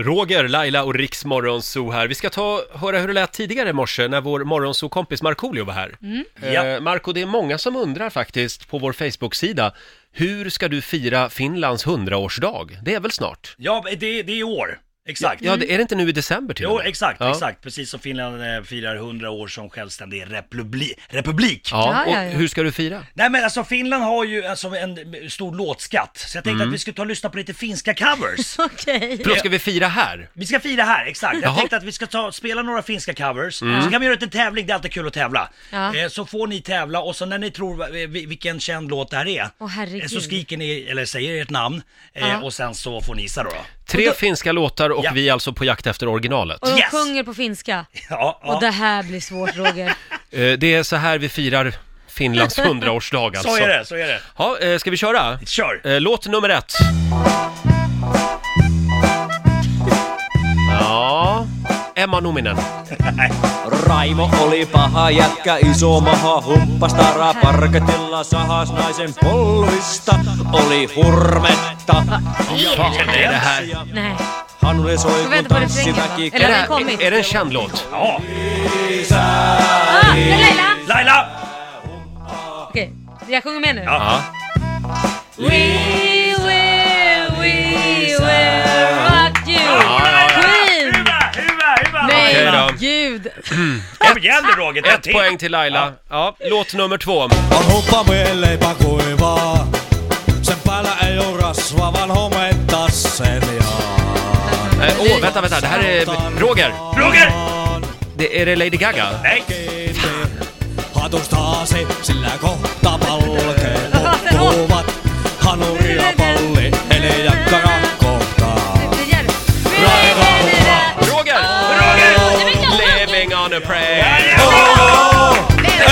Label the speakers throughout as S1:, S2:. S1: Roger, Laila och Riks Morgonzoo här. Vi ska ta höra hur det lät tidigare i morse när vår Morgonzoo-kompis Markoolio var här.
S2: Mm.
S1: Eh, Marco, det är många som undrar faktiskt på vår Facebook-sida. Hur ska du fira Finlands 100-årsdag? Det är väl snart?
S3: Ja, det, det är i år. Exakt.
S1: Ja,
S2: Mm.
S1: det, är det inte nu i december till och
S3: Jo,
S1: med?
S3: exakt,
S1: Ja.
S3: exakt. Precis som Finland eh, firar 100 år som självständig republi- republik.
S1: Ja,
S2: Ja,
S1: och
S2: ja, ja.
S1: hur ska du fira?
S3: Nej men alltså Finland har ju alltså, en stor låtskatt, så jag tänkte
S1: Mm.
S3: att vi skulle ta och lyssna på lite finska covers.
S2: Okej.
S1: Förlåt, ska vi fira här?
S3: Vi ska fira här, exakt. Jag
S1: Jaha. Mm.
S3: tänkte att vi ska ta, spela några finska covers, så kan vi göra en liten tävling, det är alltid kul att tävla.
S2: Ja.
S3: Eh, så får ni tävla och så när ni tror eh, vi- vilken känd låt det här är,
S2: Åh, herregud.
S3: eh, så skriker ni, eller säger ert namn, eh,
S2: Ja.
S3: och sen så får ni gissa då. då.
S1: Tre finska låtar och
S3: Ja.
S1: vi är alltså på jakt efter originalet.
S2: Och de
S3: Yes.
S2: sjunger på finska.
S3: Ja, ja.
S2: Och det här blir svårt Roger.
S1: Eh, Det är så här vi firar Finlands 100-årsdag alltså.
S3: Så är det, så är det.
S1: Ja, eh, ska vi köra?
S3: Kör!
S1: Eh, Låt nummer ett. Ja, Emma Nominen.
S4: Raimo oli paha jätkä, iso maha, humppas tara, parketilla sahas naisen polvista, oli hurmetta.
S1: Fan, det är det här.
S2: Nej.
S4: Hanule soi
S2: Ska vi
S4: kun
S2: vänta på refrängen
S4: tanssiväki
S2: då? Eller har den kommit?
S1: Är, är det en känd låt?
S3: Ja,
S2: Ah, det är Laila!
S3: Laila!
S2: Okej, jag sjunger med nu.
S1: Ja.
S2: We will, we will rock you! Queen!
S3: Huva, huva, huva!
S2: Nej,
S1: Okej då.
S2: gud!
S3: Kom igen nu Roger, ta
S1: Ett poäng till Laila. Ja, låt nummer två. Eh,
S4: On huppa mieleipä kuivaa, sen päällä ei oo rasva, vaan hometta sen jaa.
S1: Eh, Åh, vänta, vänta. Det här är... Roger!
S3: Roger!
S1: Det, är det Lady Gaga?
S3: Nej!
S4: Hatustaasi, sillä kohta palkee
S2: Lasten on.
S4: loppuvat. Hanuri ja palli, eli jakkara kohtaa.
S2: Det gör det.
S1: Roger!
S2: Det vill jag ha.
S1: Living on a prayer!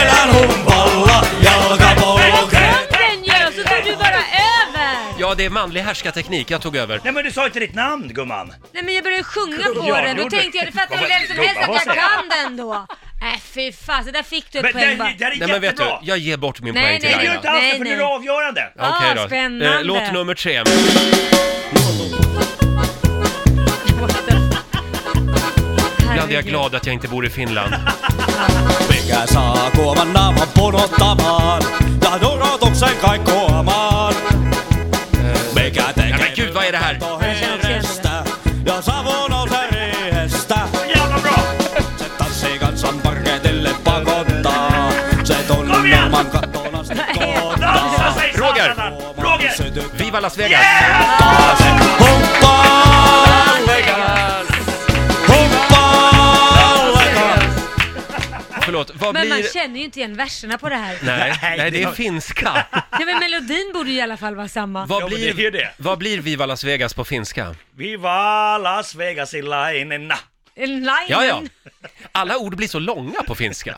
S4: Elän humpalla, jalkapallo
S2: Den gör så tar du bara över!
S1: Ja, det är manlig härskarteknik. Jag tog över.
S3: Nej men du sa inte ditt namn gumman!
S2: Nej men jag började sjunga på
S3: Ja,
S2: den, då
S3: gjorde-
S2: tänkte jag, det fattar väl
S3: Vad-
S2: vem som helst
S3: vad
S2: att jag
S3: säger jag?
S2: kan den då! Nej fy fan, så där fick du ett
S3: Men
S2: poäng
S3: den,
S2: bara.
S3: den är
S1: Nej, men vet du.
S3: jättebra!
S1: Jag ger bort min
S2: Nej,
S1: poäng till
S2: nej,
S3: Det gör
S1: Laila.
S3: du inte alls
S2: Nej,
S3: för nu är
S2: nej.
S3: det avgörande!
S2: Ah,
S1: Okej då.
S2: spännande.
S1: Eh, låt nummer tre. Ibland är jag
S2: Herregud.
S1: glad att jag inte bor i Finland.
S4: Mikä saa kuoman naaman punottamaan ja norotuksen kai kuomaan. Mikä
S1: Ja,
S4: tekee
S1: men gud, vad är det här?
S4: hengestä ja savu nousee riihestä.
S3: Jävla bra!
S4: Se tanssii kansan parketille pakottaa. Se
S3: Kom
S4: tunnin
S3: igen!
S4: naaman kattoon asti
S3: Dansa
S4: kohtaa.
S3: sig
S1: Roger.
S3: satan! Roger!
S1: Viva Las Vegas!
S4: Taas humppaa
S1: Vegas!
S4: Humppaa lekas.
S1: Förlåt, vad
S2: Men man
S1: blir...
S2: känner ju inte igen verserna på det här.
S1: Nej,
S3: Nej,
S1: nej, det är
S3: det-
S1: finska.
S2: Nej men melodin borde ju i alla fall vara samma.
S1: Vad
S3: Ja, men
S1: blir,
S3: det är det.
S1: Vad blir Viva Las Vegas på finska?
S3: Viva Las Vegasilainen!
S2: En
S1: Ja, ja. Alla ord blir så långa på finska.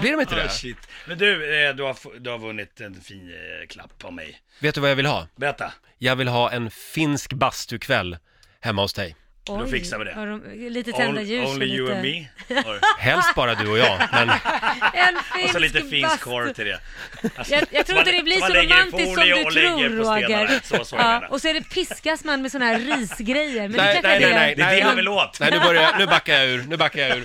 S1: Blir de inte det?
S3: Shit. Men du, eh, du har, f- du har vunnit en fin eh, klapp av mig.
S1: Vet du vad jag vill ha?
S3: Berätta.
S1: Jag vill ha en finsk bastukväll hemma hos dig.
S2: Oj,
S3: fixar vi det.
S2: vad De, lite tända
S3: Only,
S2: ljus och
S3: only
S2: lite...
S3: you and me. Or,
S1: Helst bara du och jag, men
S2: En
S3: och så lite
S2: finsk
S3: finsk
S2: bastu.
S3: korv till det. Alltså,
S2: Jag, jag tror
S3: man-
S2: inte det blir
S3: man
S2: så
S3: lägger i
S2: romantiskt som
S3: folie
S2: du
S3: och lägger
S2: tror
S3: på stenarna.
S2: Roger.
S3: Så, så
S2: ja,
S3: ja,
S2: och så är det piskas man med såna här risgrejer. Men det
S1: Nej,
S2: kanske
S1: nej,
S2: det
S1: nej,
S2: är.
S1: nej.
S3: Det är det han
S1: men-
S3: vill åt.
S1: Nej, nu, börjar jag, nu backar jag ur. Nu backar jag ur.